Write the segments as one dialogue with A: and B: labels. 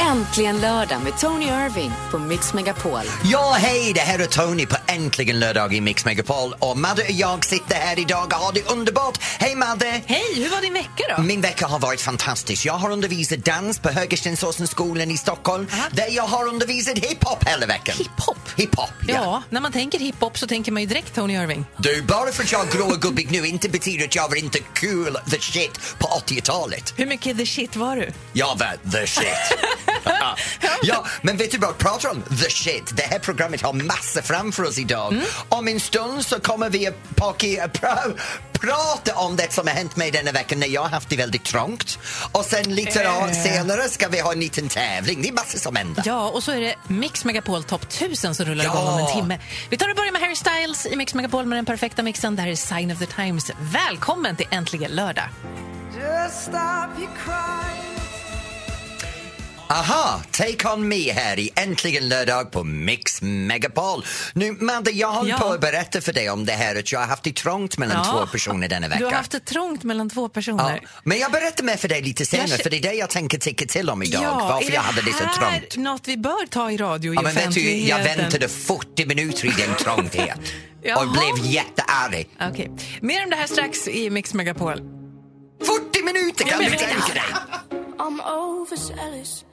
A: Äntligen lördag med Tony Irving på Mix Megapol.
B: Ja, hej! Det här är Tony på Äntligen lördag i Mix Megapol och Madde och jag sitter här idag och har det underbart. Hej Madde!
C: Hej, hur var din vecka då?
B: Min vecka har varit fantastisk. Jag har undervisat dans på Högerstensåsenskolan i Stockholm där jag har undervisat hiphop hela veckan.
C: Hiphop?
B: Hiphop,
C: Ja.
B: ja.
C: när man tänker hiphop så tänker man ju direkt Tony Irving.
B: Du, bara för att jag är grå och gubbig nu inte betyder att jag var inte cool the shit på 80-talet.
C: Hur mycket the shit var du?
B: Jag var the shit. ja, men vet du vad? Pratar om the shit. Det här programmet har massor framför oss idag.
C: Mm.
B: Om en stund så kommer vi att paki- pra- prata om det som har hänt mig denna veckan när jag har haft det väldigt trångt. Och sen lite äh. senare ska vi ha en liten tävling. Det är massor som händer.
C: Eh. Ja, och så är det Mix Megapol Top 1000 som rullar
B: Ja.
C: igång om en timme. Vi tar och börjar med Harry Styles i Mix Megapol med den perfekta mixen. Det här är Sign of the Times. Välkommen till Äntligen lördag.
B: Aha, Take On Me här i Äntligen lördag på Mix Megapol. Nu Madde, jag håller
C: Ja.
B: på att berätta för dig om det här att jag har haft det trångt mellan
C: Ja.
B: två personer denna vecka.
C: Du har haft det trångt mellan två
B: Ja,
C: personer.
B: men jag berättar mer för dig lite senare,
C: Jag kä-
B: för det är det jag tänker tycka till om idag, varför jag hade det så
C: här
B: trångt.
C: något vi bör ta i radio i
B: Ja, men vet du, jag
C: offentligheten?
B: väntade 40 minuter i den trånghet och
C: Jaha.
B: blev jättearg.
C: Okej, mer om det här strax i Mix Megapol.
B: 40 minuter, kan
C: Ja, men-
B: du tänka dig?
D: I'm overzealous.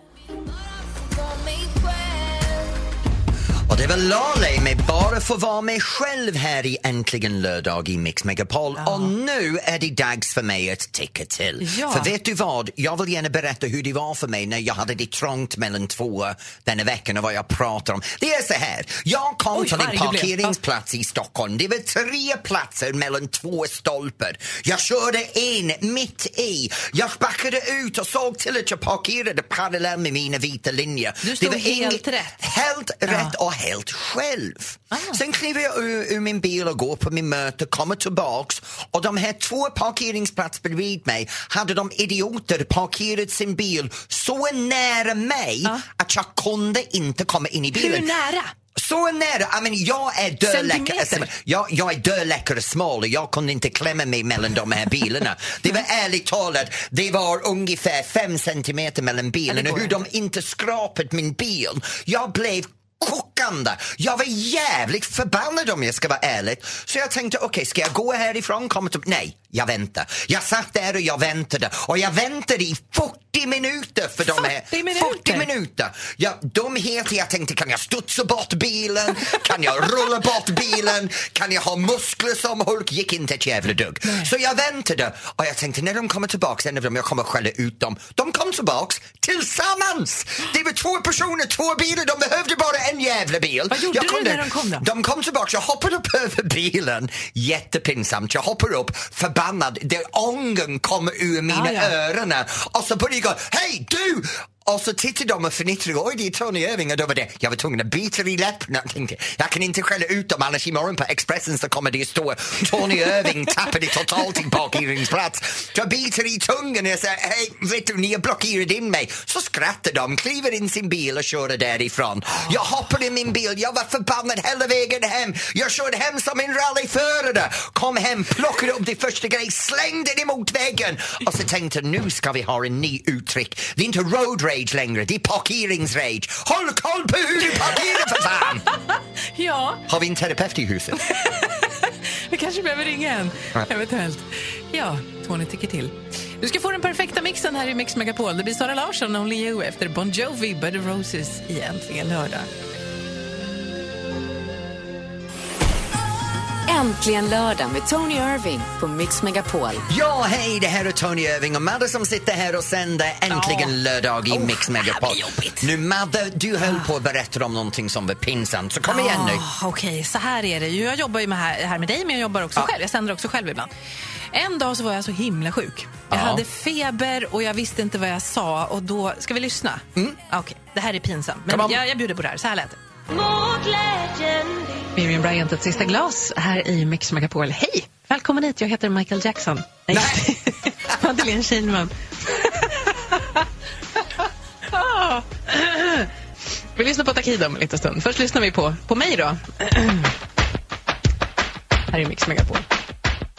B: Och det var Lale med Bara få vara mig själv här i Äntligen lördag i Mix Megapol. Och nu är det dags för mig att ticka till.
C: Ja.
B: För vet du vad? Jag vill gärna berätta hur det var för mig när jag hade det trångt mellan två denna veckan och vad jag pratar om. Det är så här, jag kom
C: Oj,
B: till
C: vad
B: en
C: arg du blev.
B: parkeringsplats i Stockholm. Det var tre platser mellan två stolpar. Jag körde in mitt i. Jag backade ut och såg till att jag parkerade parallellt med mina vita linjer.
C: Du stod
B: Det var inget-
C: helt rätt.
B: Helt rätt och helt själv.
C: Ah.
B: Sen kliver jag ur, ur min bil och går på min möte, kommer tillbaks och de här två parkeringsplatserna bredvid mig hade de idioter parkerat sin bil så nära mig att jag kunde inte komma in i bilen.
C: Ah. Hur nära?
B: Så nära! I mean, jag är dödläckare.
C: Centimeter.
B: Jag, jag är dödläckare smal och jag kunde inte klämma mig mellan de här bilarna. Det var ärligt talat, det var ungefär fem centimeter mellan bilarna. Hur de inte skrapat min bil. Jag blev kokande. Jag var jävligt förbannad om jag ska vara ärlig. Så jag tänkte, okej, ska jag gå härifrån? Kommer till... Nej, jag väntar. Jag satt där och jag väntade. Och jag väntade i 40 minuter för de här...
C: 40 minuter?
B: 40 minuter minuter. Ja, dumheter jag tänkte, kan jag studsa bort bilen? Kan jag rulla bort bilen? Kan jag ha muskler som Hulk? Gick inte ett jävla dugg. Så jag väntade och jag tänkte, när de kommer tillbaks, en av dem, jag kommer skälla ut dem. De kom tillbaks tillsammans! Det var två personer, två bilar, de behövde bara en jävla bil.
C: Vad gjorde
B: jag
C: du när de kom då?
B: de kom tillbaka, jag hoppade upp över bilen. Jättepinsamt. Jag hoppar upp, förbannad. Det ången kommer ur mina
C: Ja, ja.
B: öronen. Och så började jag gå, hej du! Och så tittade de och fnittrade, oj det är Tony Irving och då var det, jag var tvungen att bita i läpparna. Jag tänkte, jag kan inte skälla ut dem annars imorgon på Expressen så kommer det att stå Tony Irving tappade totalt i parkeringsplats. Jag biter i tungan och jag säger, hej vet du ni har blockerat in mig. Så skrattar de, kliver in sin bil och kör därifrån. Jag hoppar i min bil, jag var förbannad hela vägen hem. Jag körde hem som en rallyförare. Kom hem, plockade upp det första grejen, slängde det mot väggen. Och så tänkte nu ska vi ha en ny uttryck. Det är inte road rage längre, det är parkeringsrage. Håll koll på hur du parkerar för fan!
C: Ja,
B: Har vi en terapeut i huset?
C: Vi kanske behöver ringa en,
B: Ja.
C: eventuellt. Ja, Tony tycker till. Du ska få den perfekta mixen här i Mix Megapol. Det blir Sara Larsson och Only You efter Bon Jovi, Bud Roses i Äntligen lördag.
A: Äntligen lördag med Tony Irving på Mix Megapol.
B: Ja, hej, det här är Tony Irving och Madde som sitter här och sänder äntligen lördag i Mix Megapol. Nu Madde, du höll på att berätta om någonting som var pinsamt, så kom igen nu.
C: Ah, Okej, så här är det. ju. Jag jobbar ju med här, här med dig, men jag jobbar också själv. Jag sänder också själv ibland. En dag så var jag så himla sjuk. Jag
B: Ja.
C: hade feber och jag visste inte vad jag sa. Och då, ska vi lyssna? Mm. Okej, det här är pinsamt.
B: Come
C: Men
B: on.
C: jag, jag bjuder på det här. Så här lät det. Miriam Bryant, ett sista glas här i Mix Megapol. Hej! Välkommen hit, jag heter Michael Jackson. Nej! Madeleine Kihlman. Ah. vi lyssnar på Takida om en liten stund. Först lyssnar vi på, på mig då. här är Mix Megapol.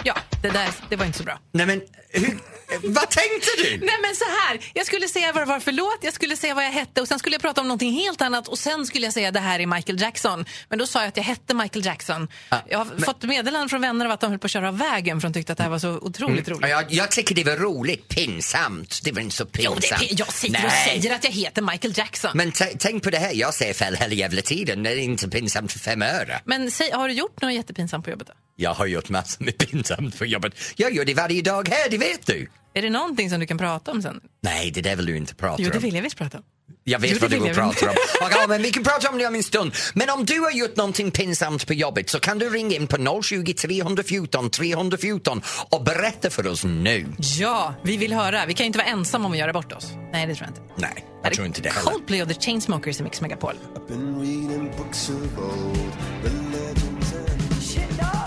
C: Ja, det där det var inte så bra.
B: Nej men, hur, eh, Vad tänkte du?
C: Nej men så här, jag skulle säga vad det var för låt, jag skulle säga vad jag hette och sen skulle jag prata om någonting helt annat och sen skulle jag säga det här är Michael Jackson. Men då sa jag att jag hette Michael Jackson. jag har fått meddelanden från vänner av att de höll på att köra av vägen för de tyckte att det här var så otroligt
B: Ja,
C: roligt.
B: Jag, jag tycker det var roligt. Pinsamt. Det var inte så
C: Jo, det,
B: pinsamt.
C: jag säger och
B: Nej.
C: säger att jag heter Michael Jackson. Men,
B: Men t- tänk på det här, jag säger fel hela jävla tiden. Det är inte pinsamt för fem öre.
C: säg, har du gjort något jättepinsamt på jobbet? Då?
B: Jag har gjort massor med pinsamt på jobbet. Jag gör det varje dag här, det vet du.
C: Är det någonting som du kan prata om sen?
B: Nej, det där vill du inte prata
C: Jo, det
B: om.
C: vill jag visst prata om.
B: Jag vet
C: Jo, det
B: vad du
C: vill
B: vill
C: jag.
B: prata om. Och, ja, men vi kan prata om det om en stund. Men om du har gjort någonting pinsamt på jobbet så kan du ringa in på 020 314 314 och berätta för oss nu.
C: Ja, vi vill höra. Vi kan ju inte vara ensamma om att göra bort oss. Nej, det tror jag inte.
B: Nej, jag tror inte det heller.
C: Coldplay och The Chainsmokers i Mix Megapol.
E: Been reading books of old, the legends and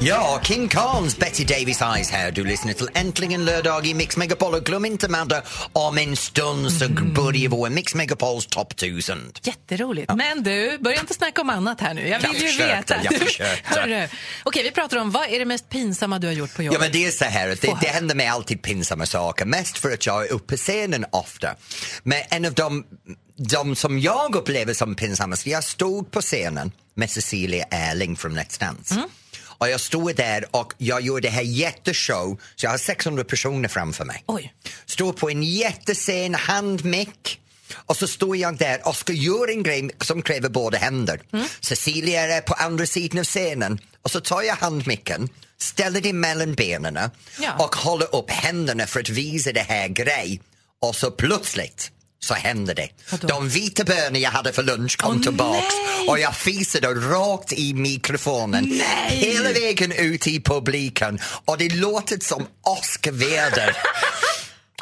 B: Ja, King Khans Betty Davis Eyes här. Du lyssnar till Äntligen lördag i Mix Megapol och glöm inte Madde, om en stund så börjar vår Mix Megapols topp 1000.
C: Jätteroligt. Men du, börja inte snacka om annat här nu. Jag vill
B: Jag
C: ju
B: försökte,
C: veta.
B: jag försökte.
C: Hörru, Okej, vi pratar om vad är det mest pinsamma du har gjort på jobbet?
B: Ja men det är så här att det,
C: Få
B: det
C: höra.
B: händer mig alltid pinsamma saker, mest för att jag är uppe på scenen ofta. Men en av de, de som jag upplever som pinsamma, så jag stod på scenen med Cecilia Erling från Let's Dance. Och jag stod där och jag gjorde det här jätteshow, så jag har 600 personer framför mig.
C: Oj.
B: Står på en jättescen handmick. Och så står jag där och ska göra en grej som kräver båda händer.
C: Mm.
B: Cecilia är på andra sidan av scenen och så tar jag handmicken, ställer den mellan benen
C: Ja.
B: och håller upp händerna för att visa det här grej. Och så plötsligt så hände det.
C: Vadå?
B: De vita bönor jag hade för lunch kom
C: Åh,
B: tillbaks
C: nej!
B: och jag fisade rakt i mikrofonen hela vägen ut i publiken och det låter som åskväder.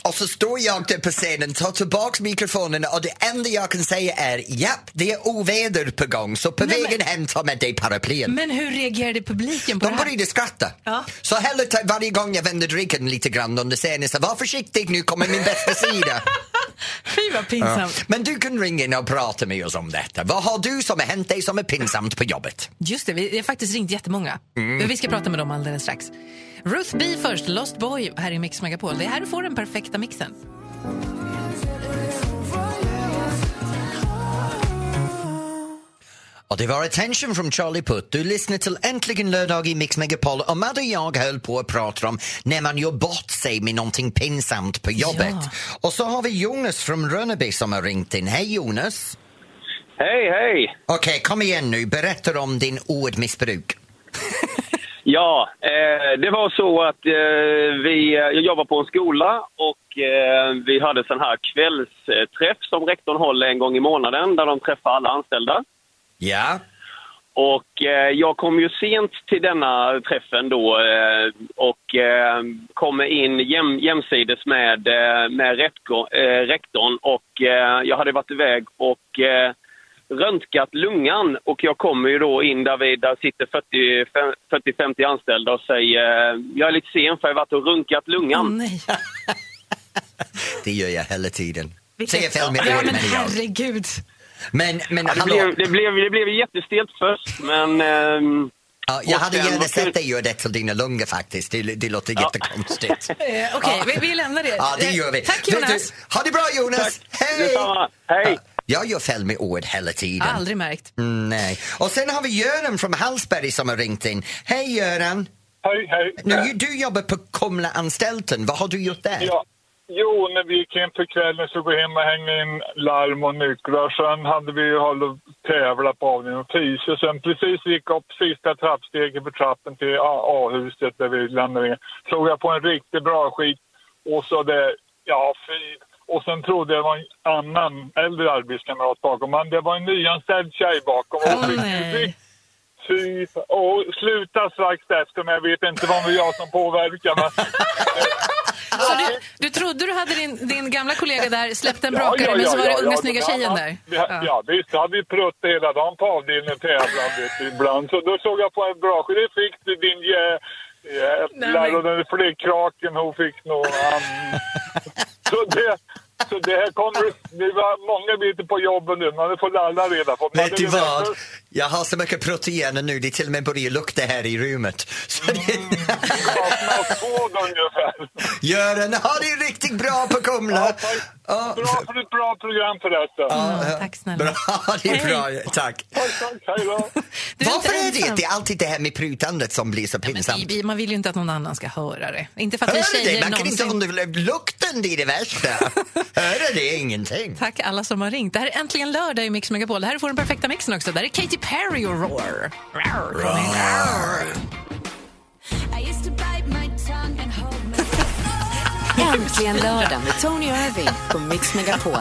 B: Och så står jag där på scenen, tar tillbaks mikrofonen och det enda jag kan säga är japp, det är oväder på gång så på vägen hem ta med dig paraplyen.
C: Men hur reagerade publiken på
B: De
C: det här?
B: började skratta.
C: Ja.
B: Så hellre ta- varje gång jag vände ryggen lite grann under scenen så var försiktig nu kommer min bästa sida.
C: Fy vad pinsamt.
B: Men du kan ringa in och prata med oss om detta. Vad har du som har hänt dig som är pinsamt på jobbet?
C: Just det, vi vi har faktiskt ringt jättemånga.
B: Mm.
C: Men vi ska prata med dem alldeles strax. Ruth B först, Lost Boy här i Mix Megapol. Det är här du får den perfekta mixen.
B: Och det var Attention från Charlie Puth. Du lyssnar till Äntligen lördag i Mix Megapol och Madde och jag höll på att prata om när man gör bort sig med någonting pinsamt på jobbet.
C: Ja.
B: Och så har vi Jonas från Rönneby som har ringt in. Hej Jonas!
F: Hej, hej!
B: Okej, kom igen nu. Berätta om din ordmissbruk.
F: Ja, eh, det var så att eh, vi, jag jobbar på en skola och eh, vi hade sån här kvällsträff som rektorn håller en gång i månaden där de träffar alla anställda.
B: Ja.
F: Och eh, jag kom ju sent till denna träffen då eh, och eh, kommer in jäm, jämsides med, eh, med repko, eh, rektorn och eh, jag hade varit iväg och eh, röntgat lungan och jag kommer ju då in där vid, där sitter 40 fem- 40-50 anställda och säger eh, jag är lite sen för jag har varit och runkat lungan.
C: Åh,
B: Mm.
C: nej.
B: Det gör jag hela tiden.
C: Vilket-
B: Säger fel med
C: ja,
B: ord, men
C: men
B: jag.
C: herregud.
B: Men, men
F: Ja, det,
B: hallå.
F: blev, det, blev, det blev jättestelt först men ehm,
B: Ja, jag
F: Och
B: hade
F: sen-
B: gärna
F: och sen-
B: sett dig göra det till dina lungor faktiskt. Det, det låter jättekonstigt.
C: Eh, Okej, vi, vi lämnar det.
B: Ja, det gör vi.
C: Eh, Tack
B: Vet
C: Jonas.
B: du, ha det bra Jonas!
F: Tack.
B: Hej!
F: detsamma. Hej!
B: Jag gör fel med ord hela tiden.
C: Aldrig märkt.
B: Mm, nej. Och sen har vi Göran från Hallsberg som har ringt in. Hej Göran!
G: Hej, hej.
B: Nu, Du jobbar på Kumlaanstalten. Vad har du gjort där?
G: Ja. Jo, när vi gick hem på kvällen så går hem och hängde in larm och nycklar. Sen hade vi ju hållit och tävlat på avdelning och fys. Och sen precis gick jag upp sista trappsteget på trappen till A- A-huset där vi lämnade in. Slog jag på en riktigt bra skit och så det, ja fy. Och sen trodde jag det var en annan äldre arbetskamrat bakom. Men det var en nyanställd tjej bakom.
C: Åh,
G: Och fick-
C: nej.
G: Fy, och sluta strax efter men jag vet inte vad det var jag som påverkade. Men
C: Så du, du trodde du hade din, din gamla kollega där, släppt en brakare,
G: Ja, ja,
C: men så
G: ja,
C: var det
G: ja,
C: unga
G: ja,
C: snygga
G: det var-
C: tjejen där.
G: Vi, ja. ja, visst. Jag hade ju pruttat hela dagen på avdelningen och tävlan vet du, ibland. Så då såg jag på en bra skit. Det fick du din jä-
C: Nej,
G: jävlar
C: men-
G: och den flygkraken hon fick nog... Um, så det... Så det här kommer, det var många bitar på jobben nu, men det får alla reda på. Men
B: Vet
G: det
B: du
G: är liksom
B: vad?
G: väl-
B: Jag har så mycket proteiner nu, det till och med börjar lukta här i rummet. Så det...
G: Vakna åt två ungefär.
B: Göran, ha det riktigt bra på Kumla! Ja,
G: Bra för ett bra program förresten.
C: Mm, tack snälla.
B: bra, det är bra, tack.
G: Tack, tack, hej då.
C: Du inte
B: Varför är det?
C: ensam.
B: Det är alltid det här med prutandet som blir så pinsamt.
C: Vi, vi, man vill ju inte att någon annan ska höra det. Inte för att vi
B: Hör du
C: tjejer
B: det? Man kan inte
C: någonsin...
B: underlä- Lukten, det är det värsta. Hör du det? Ingenting.
C: Tack alla som har ringt. Det här är äntligen lördag i Mix Megapol. Det här får den perfekta mixen också. Det här är Katy Perry och Roar. Roar.
A: Äntligen lördag med Tony Irving på Mix Megapol.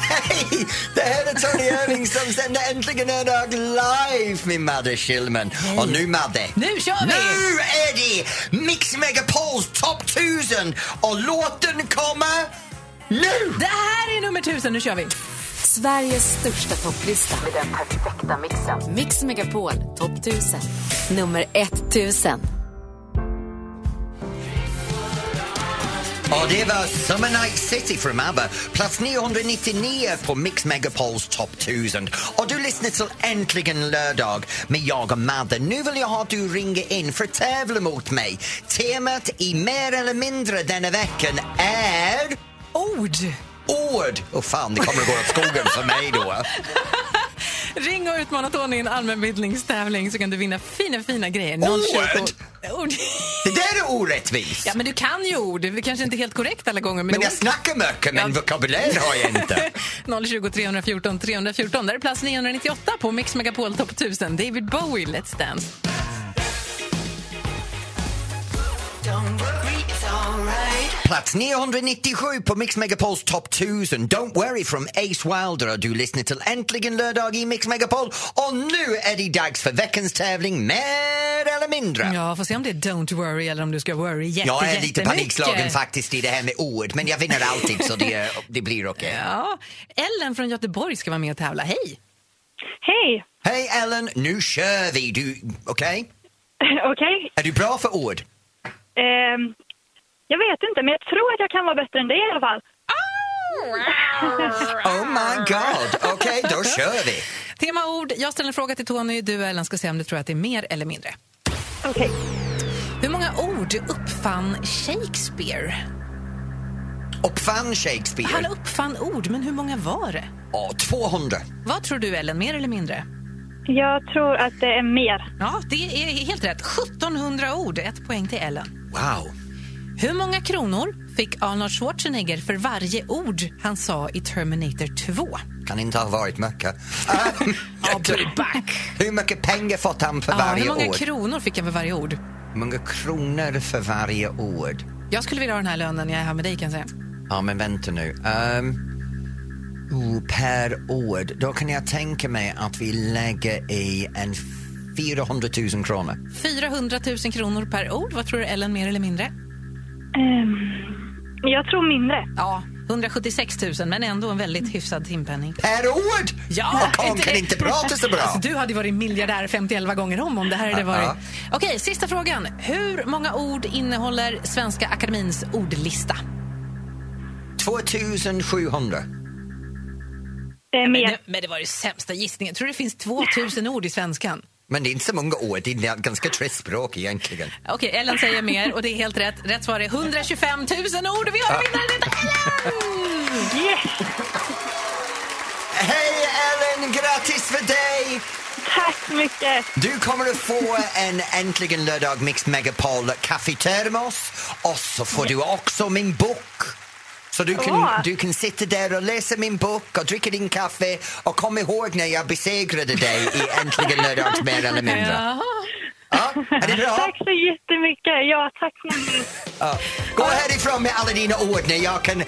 B: Hej! Det här är Tony Irving som sänder Äntligen lördag live med Madde Schillman. Och nu Madde.
C: Nu kör vi!
B: Nu är det Mix Megapols topp 1000 och låten kommer nu!
C: Det här är nummer tusen. Nu kör vi.
A: Sveriges största topplista. Med den perfekta mixen. Mix Megapol topp 1000. Nummer 1000.
B: Och det var Summer Night City från ABBA, plats 999 på Mix Megapols topp 1000. Och du lyssnar till Äntligen lördag med jag och Madde. Nu vill jag ha att du ringer in för att tävla mot mig. Temat i Mer eller mindre denna veckan är
C: Ord.
B: ord. Åh fan, det kommer att gå åt skogen för mig då.
C: Ring och utmana Tony i en allmänbildningstävling så kan du vinna fina, fina grejer. Noll
B: Ord?
C: kyrko- Ord.
B: Det där är orättvist.
C: Ja, men du kan ju ord. Det är kanske inte helt korrekt alla gånger. Men,
B: Men jag
C: ord-
B: snackar mycket, men
C: Ja.
B: vokabulär har jag inte.
C: 020 314 314. Där är plats 998 på Mix Megapol Top 1000. David Bowie, Let's Dance.
B: Plats 997 på Mix Megapols topp 1000. Don't worry from Ace Wilder och du lyssnar till Äntligen lördag i Mix Megapol. Och nu är det dags för veckans tävling, mer eller mindre.
C: Ja, får se om det är Don't Worry eller om du ska worry jätte,
B: Jag är lite
C: jättemycket.
B: panikslagen faktiskt i det här med ord, men jag vinner alltid så det, det blir okej.
C: Ja. Ellen från Göteborg ska vara med och tävla. Hej!
H: Hej!
B: Hej Ellen, nu kör vi. Du, okej?
H: Okej.
B: Är du bra för ord?
H: Ehm, jag vet inte, men jag tror att jag kan vara bättre än det i alla fall.
B: Oh my god, okej då kör vi.
C: Tema ord. Jag ställer en fråga till Tony. Du Ellen ska säga om du tror att det är mer eller mindre.
H: Okej.
C: Hur många ord uppfann Shakespeare?
B: Uppfann Shakespeare.
C: Han uppfann ord, men hur många var det?
B: Ja, 200.
C: Vad tror du Ellen, mer eller mindre?
H: Jag tror att det är mer.
C: Ja, det är helt rätt. 1700 ord. Ett poäng till Ellen.
B: Wow.
C: Hur många kronor fick Arnold Schwarzenegger för varje ord han sa i Terminator 2?
B: Kan inte ha varit mycket. Ah,
C: back.
B: hur mycket pengar fått han för
C: Ja, hur
B: varje
C: många
B: år?
C: kronor fick jag för varje ord?
B: Hur många kronor för varje ord?
C: Jag skulle vilja ha den här lönen jag är här med dig kan jag säga.
B: Ja, men vänta nu. Um, oh, per ord. Då kan jag tänka mig att vi lägger i en 400 000 kronor.
C: 400 000 kronor per ord. Vad tror du Ellen, mer eller mindre?
H: Ehm, jag tror mindre.
C: Ja, 176 000 men ändå en väldigt hyfsad timpenning.
B: Per ord?
C: Ja,
B: Och han
C: inte
B: kan
C: det-
B: inte prata så bra.
C: Alltså, du hade ju varit miljardär 51 gånger om om det här hade varit...
B: Ja.
C: Okej, sista frågan. Hur många ord innehåller Svenska Akademins ordlista?
B: 2700.
H: Det är
C: Men
H: mer.
C: det, men det var ju sämsta gissningen. Tror du det finns 2000 ord i svenskan?
B: Men det är inte så många ord. Det är ett ganska trist språk egentligen.
C: Okej, Ellen säger mer och det är helt rätt. Rätt svar är 125 000 ord och vi har en vinnare! Det är Ellen!
H: Yes!
B: Hej Ellen, grattis för dig!
H: Tack mycket!
B: Du kommer att få en Äntligen lördag Mix Megapol kaffetermos och så får du också min bok. Så du kan,
H: Åh.
B: du kan sitta där och läsa min bok och dricka din kaffe och kom ihåg när jag besegrade dig i Äntligen lördag mer eller mindre.
C: Jaha.
B: Ja, är det bra?
H: Tack så jättemycket! Ja, tack snälla.
B: Ja. Gå härifrån med alla dina ord när jag kan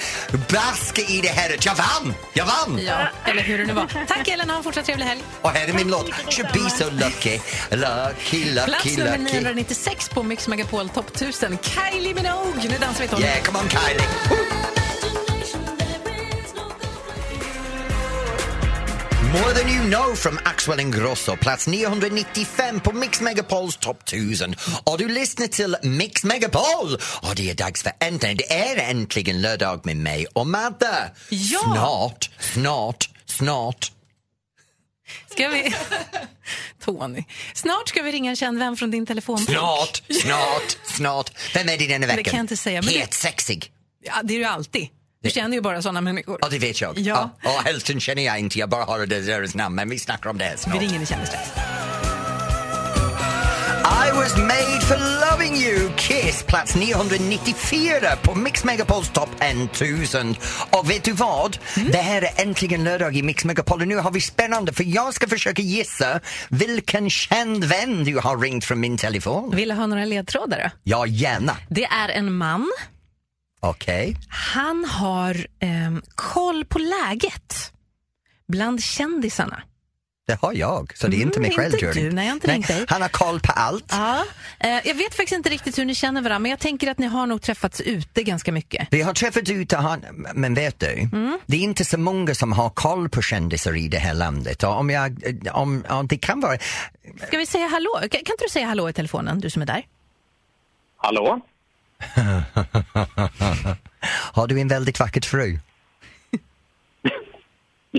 B: baska i det här att jag vann! Jag vann!
C: Ja, eller hur det nu var. Tack Ellen, ha en fortsatt trevlig helg.
B: Och här är min låt Should be so lucky, lucky,
C: Plats
B: lucky,
C: nummer
B: lucky.
C: 996 på Mix Megapol Top 1000. Kylie Minogue! Nu dansar vi Tony.
B: Yeah, come on Kylie! More than you know from Axwell Ingrosso, plats 995 på Mix Megapols topp 1000. Och du lyssnar till Mix Megapol! Och det är dags för äntligen, det är äntligen lördag med mig och Madde.
C: Ja.
B: Snart, snart, snart.
C: Ska vi... Tony. Snart ska vi ringa en känd vän från din telefon.
B: Snart, snart, snart. Vem är det denna veckan?
C: kan jag inte säga, men det-
B: Helt sexig.
C: Ja, det är du alltid. Du känner ju bara såna människor.
B: Ja, det vet jag.
C: Ja.
B: Ja, och hälften känner jag inte, jag bara har det deras namn. Men vi snackar om det här
C: Vi
B: snart.
C: ringer en kändis strax.
B: I was made for loving you, Kiss, plats 994 på Mix Megapols topp 1000. Och vet du vad?
C: Mm.
B: Det här är äntligen lördag i Mix Megapol och nu har vi spännande för jag ska försöka gissa vilken känd vän du har ringt från min telefon.
C: Vill du ha några ledtrådar då?
B: Ja, gärna.
C: Det är en man.
B: Okej.
C: Han har ehm, koll på läget bland kändisarna.
B: Det har jag, så det är inte mig
C: Mm,
B: själv
C: inte
B: gör det.
C: du. Nej, jag har inte ringt dig.
B: Han har koll på allt.
C: Ja. Eh, jag vet faktiskt inte riktigt hur ni känner varandra, men jag tänker att ni har nog träffats ute ganska mycket.
B: Vi har träffat ut och han, men vet du,
C: Mm.
B: det är inte så många som har koll på kändisar i det här landet. Och om jag, om, ja, det kan vara,
C: Ska vi säga hallå? Kan, kan inte du säga hallå i telefonen, du som är där?
F: Hallå?
B: har du en väldigt vacker fru?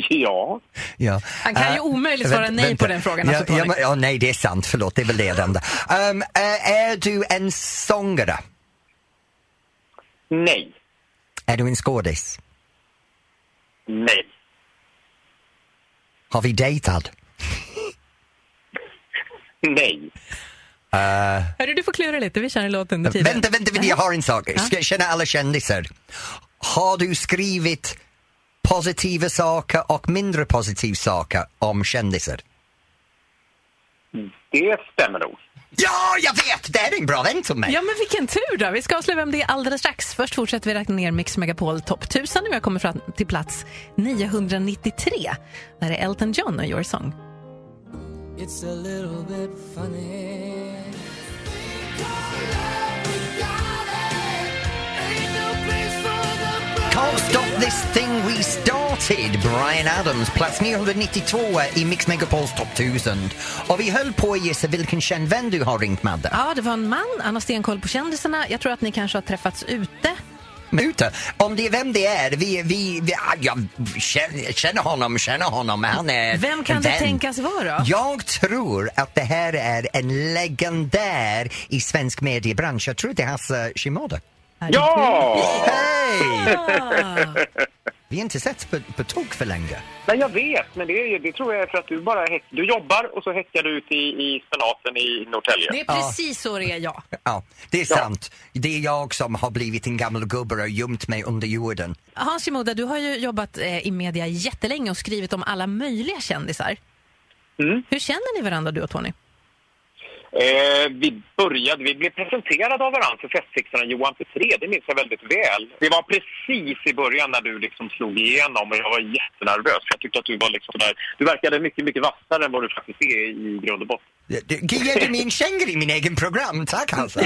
F: Ja.
B: Ja.
C: Han kan ju
B: Eh,
C: omöjligt svara nej på den frågan,
B: Ja,
C: alltså,
B: ja,
C: Tony.
B: men- ja, nej, det är sant, förlåt, det är väl det enda. Ehm, eh, är du en sångare?
F: Nej.
B: Är du en skådis?
F: Nej.
B: Har vi dejtat?
F: Nej.
C: Hörru, du får klura lite, vi känner låten under tiden.
B: Vänta, vänta, vänta, jag har en sak. Ska jag känna alla kändisar? Har du skrivit positiva saker och mindre positiva saker om kändisar?
F: Det stämmer nog.
B: Ja, jag vet! Det här är en bra vän till mig.
C: Ja, men vilken tur då! Vi ska avslöja vem det är alldeles strax. Först fortsätter vi räkna ner Mix Megapol topp 1000 när vi har kommit fram till plats 993. Där är Elton John och Your Song.
B: Can't stop this thing we started. Brian Adams, plats 992 i Mix Megapols topp 1000. Och vi höll på att gissa vilken känd vän du har ringt Madde. Ah,
C: Ja, det var en man. Han har stenkoll på kändisarna. Jag tror att ni kanske har träffats ute.
B: Ute. Om det är vem det är, vi, vi, vi, ah, jag känner- känner honom, känner honom. Han är
C: Vem
B: en
C: kan det
B: vän.
C: tänkas vara? då?
B: Jag tror att det här är en legendär i svensk mediebransch. Jag tror det är Hasse Shimoda.
F: Ja!
B: Hej!
C: Ah.
B: Vi har inte sett på, på tok för länge.
F: Nej, jag vet, men det, är ju- det tror jag är för att du bara häck, du jobbar och så häckar du ut i, i spenaten i Norrtälje.
C: Det är precis så det är jag.
B: Ja, det är sant. Det är jag som har blivit en gammal gubbe och gömt mig under jorden.
C: Hans Shimoda, du har ju jobbat eh, i media jättelänge och skrivit om alla möjliga kändisar.
F: Mm.
C: Hur känner ni varandra du och Tony?
F: Eh, vi började, vi blev presenterade av varandra för festsexaren Johan Petré, det minns jag väldigt väl. Det var precis i början när du liksom slog igenom och jag var jättenervös för jag tyckte att du var liksom där, du verkade mycket, mycket vassare än vad du faktiskt är i grund och botten.
B: Du- Ger du mig en känga i min egen program? Tack alltså!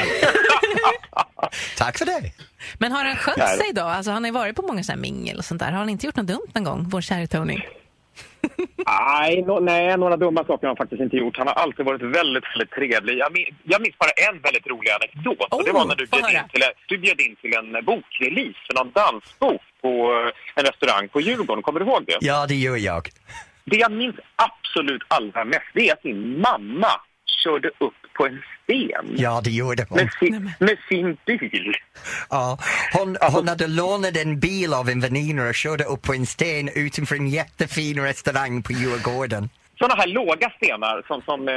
B: Tack för det!
C: Men har han skött
F: Nej.
C: sig då? Alltså, han har ju varit på många så här mingel och sånt där. Har han inte gjort något dumt någon gång, vår kära Tony?
F: Nej, no, nej, några dumma saker har han faktiskt inte gjort. Han har alltid varit väldigt, väldigt trevlig. Jag, min, jag minns bara en väldigt rolig anekdot. och det
C: Oh,
F: var när du
C: få
F: bjöd, in
C: höra.
F: till, en- du bjöd in till en eh, bokrelease för någon dansbok på eh, en restaurang på Djurgården. Kommer du ihåg det?
B: Ja, det gör jag.
F: Det jag minns absolut allra mest det är att min mamma körde upp på en sten
B: Ja, det gjorde hon.
F: med, sin, med sin bil.
B: Ja, hon, hon hade lånat en bil av en väninna och körde upp på en sten utanför en jättefin restaurang på Djurgården.
F: Sådana här låga stenar som, som eh,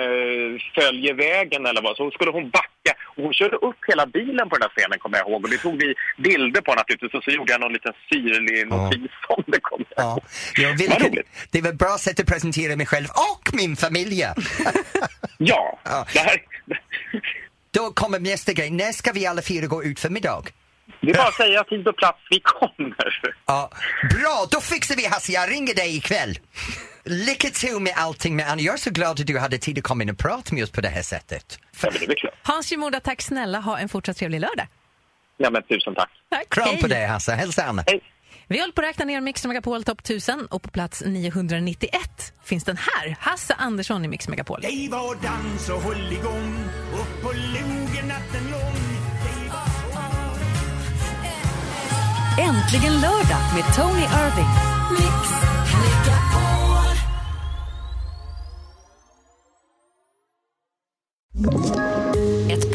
F: följer vägen eller vad. Så skulle hon backa och hon körde upp hela bilen på den här stenen kommer jag ihåg. Och det tog vi bilder på naturligtvis och så gjorde jag någon liten syrlig notis om det kommer jag
B: Ja,
F: ihåg.
B: ja,
F: Vad
B: vilket,
F: roligt.
B: det var ett bra sätt att presentera mig själv och min familj.
F: Ja,
B: Ja.
F: det här...
B: Då kommer nästa grej. När ska vi alla fyra gå ut för middag?
F: Det är bara att säga tid och plats, vi kommer.
B: Ja, bra, då fixar vi Hasse. Jag ringer dig ikväll. Lycka till med allting. Men jag är så glad att du hade tid att komma in och prata med oss på det här sättet.
F: Ja, men det är väl klart.
C: Hans Shimoda, tack snälla. Ha en fortsatt trevlig lördag.
F: Ja, men tusen tack.
C: Tack.
B: Kram
C: Hej.
B: på dig Hasse. Hälsa Anna.
F: Hej.
C: Vi håller på att räkna ner Mix Megapol topp 1000 och på plats 991 finns den här, Hasse Andersson i Mix Megapol.
I: Hej var dans och håll igång Upp på logen natten lång
A: Äntligen lördag med Tony Irving. Ett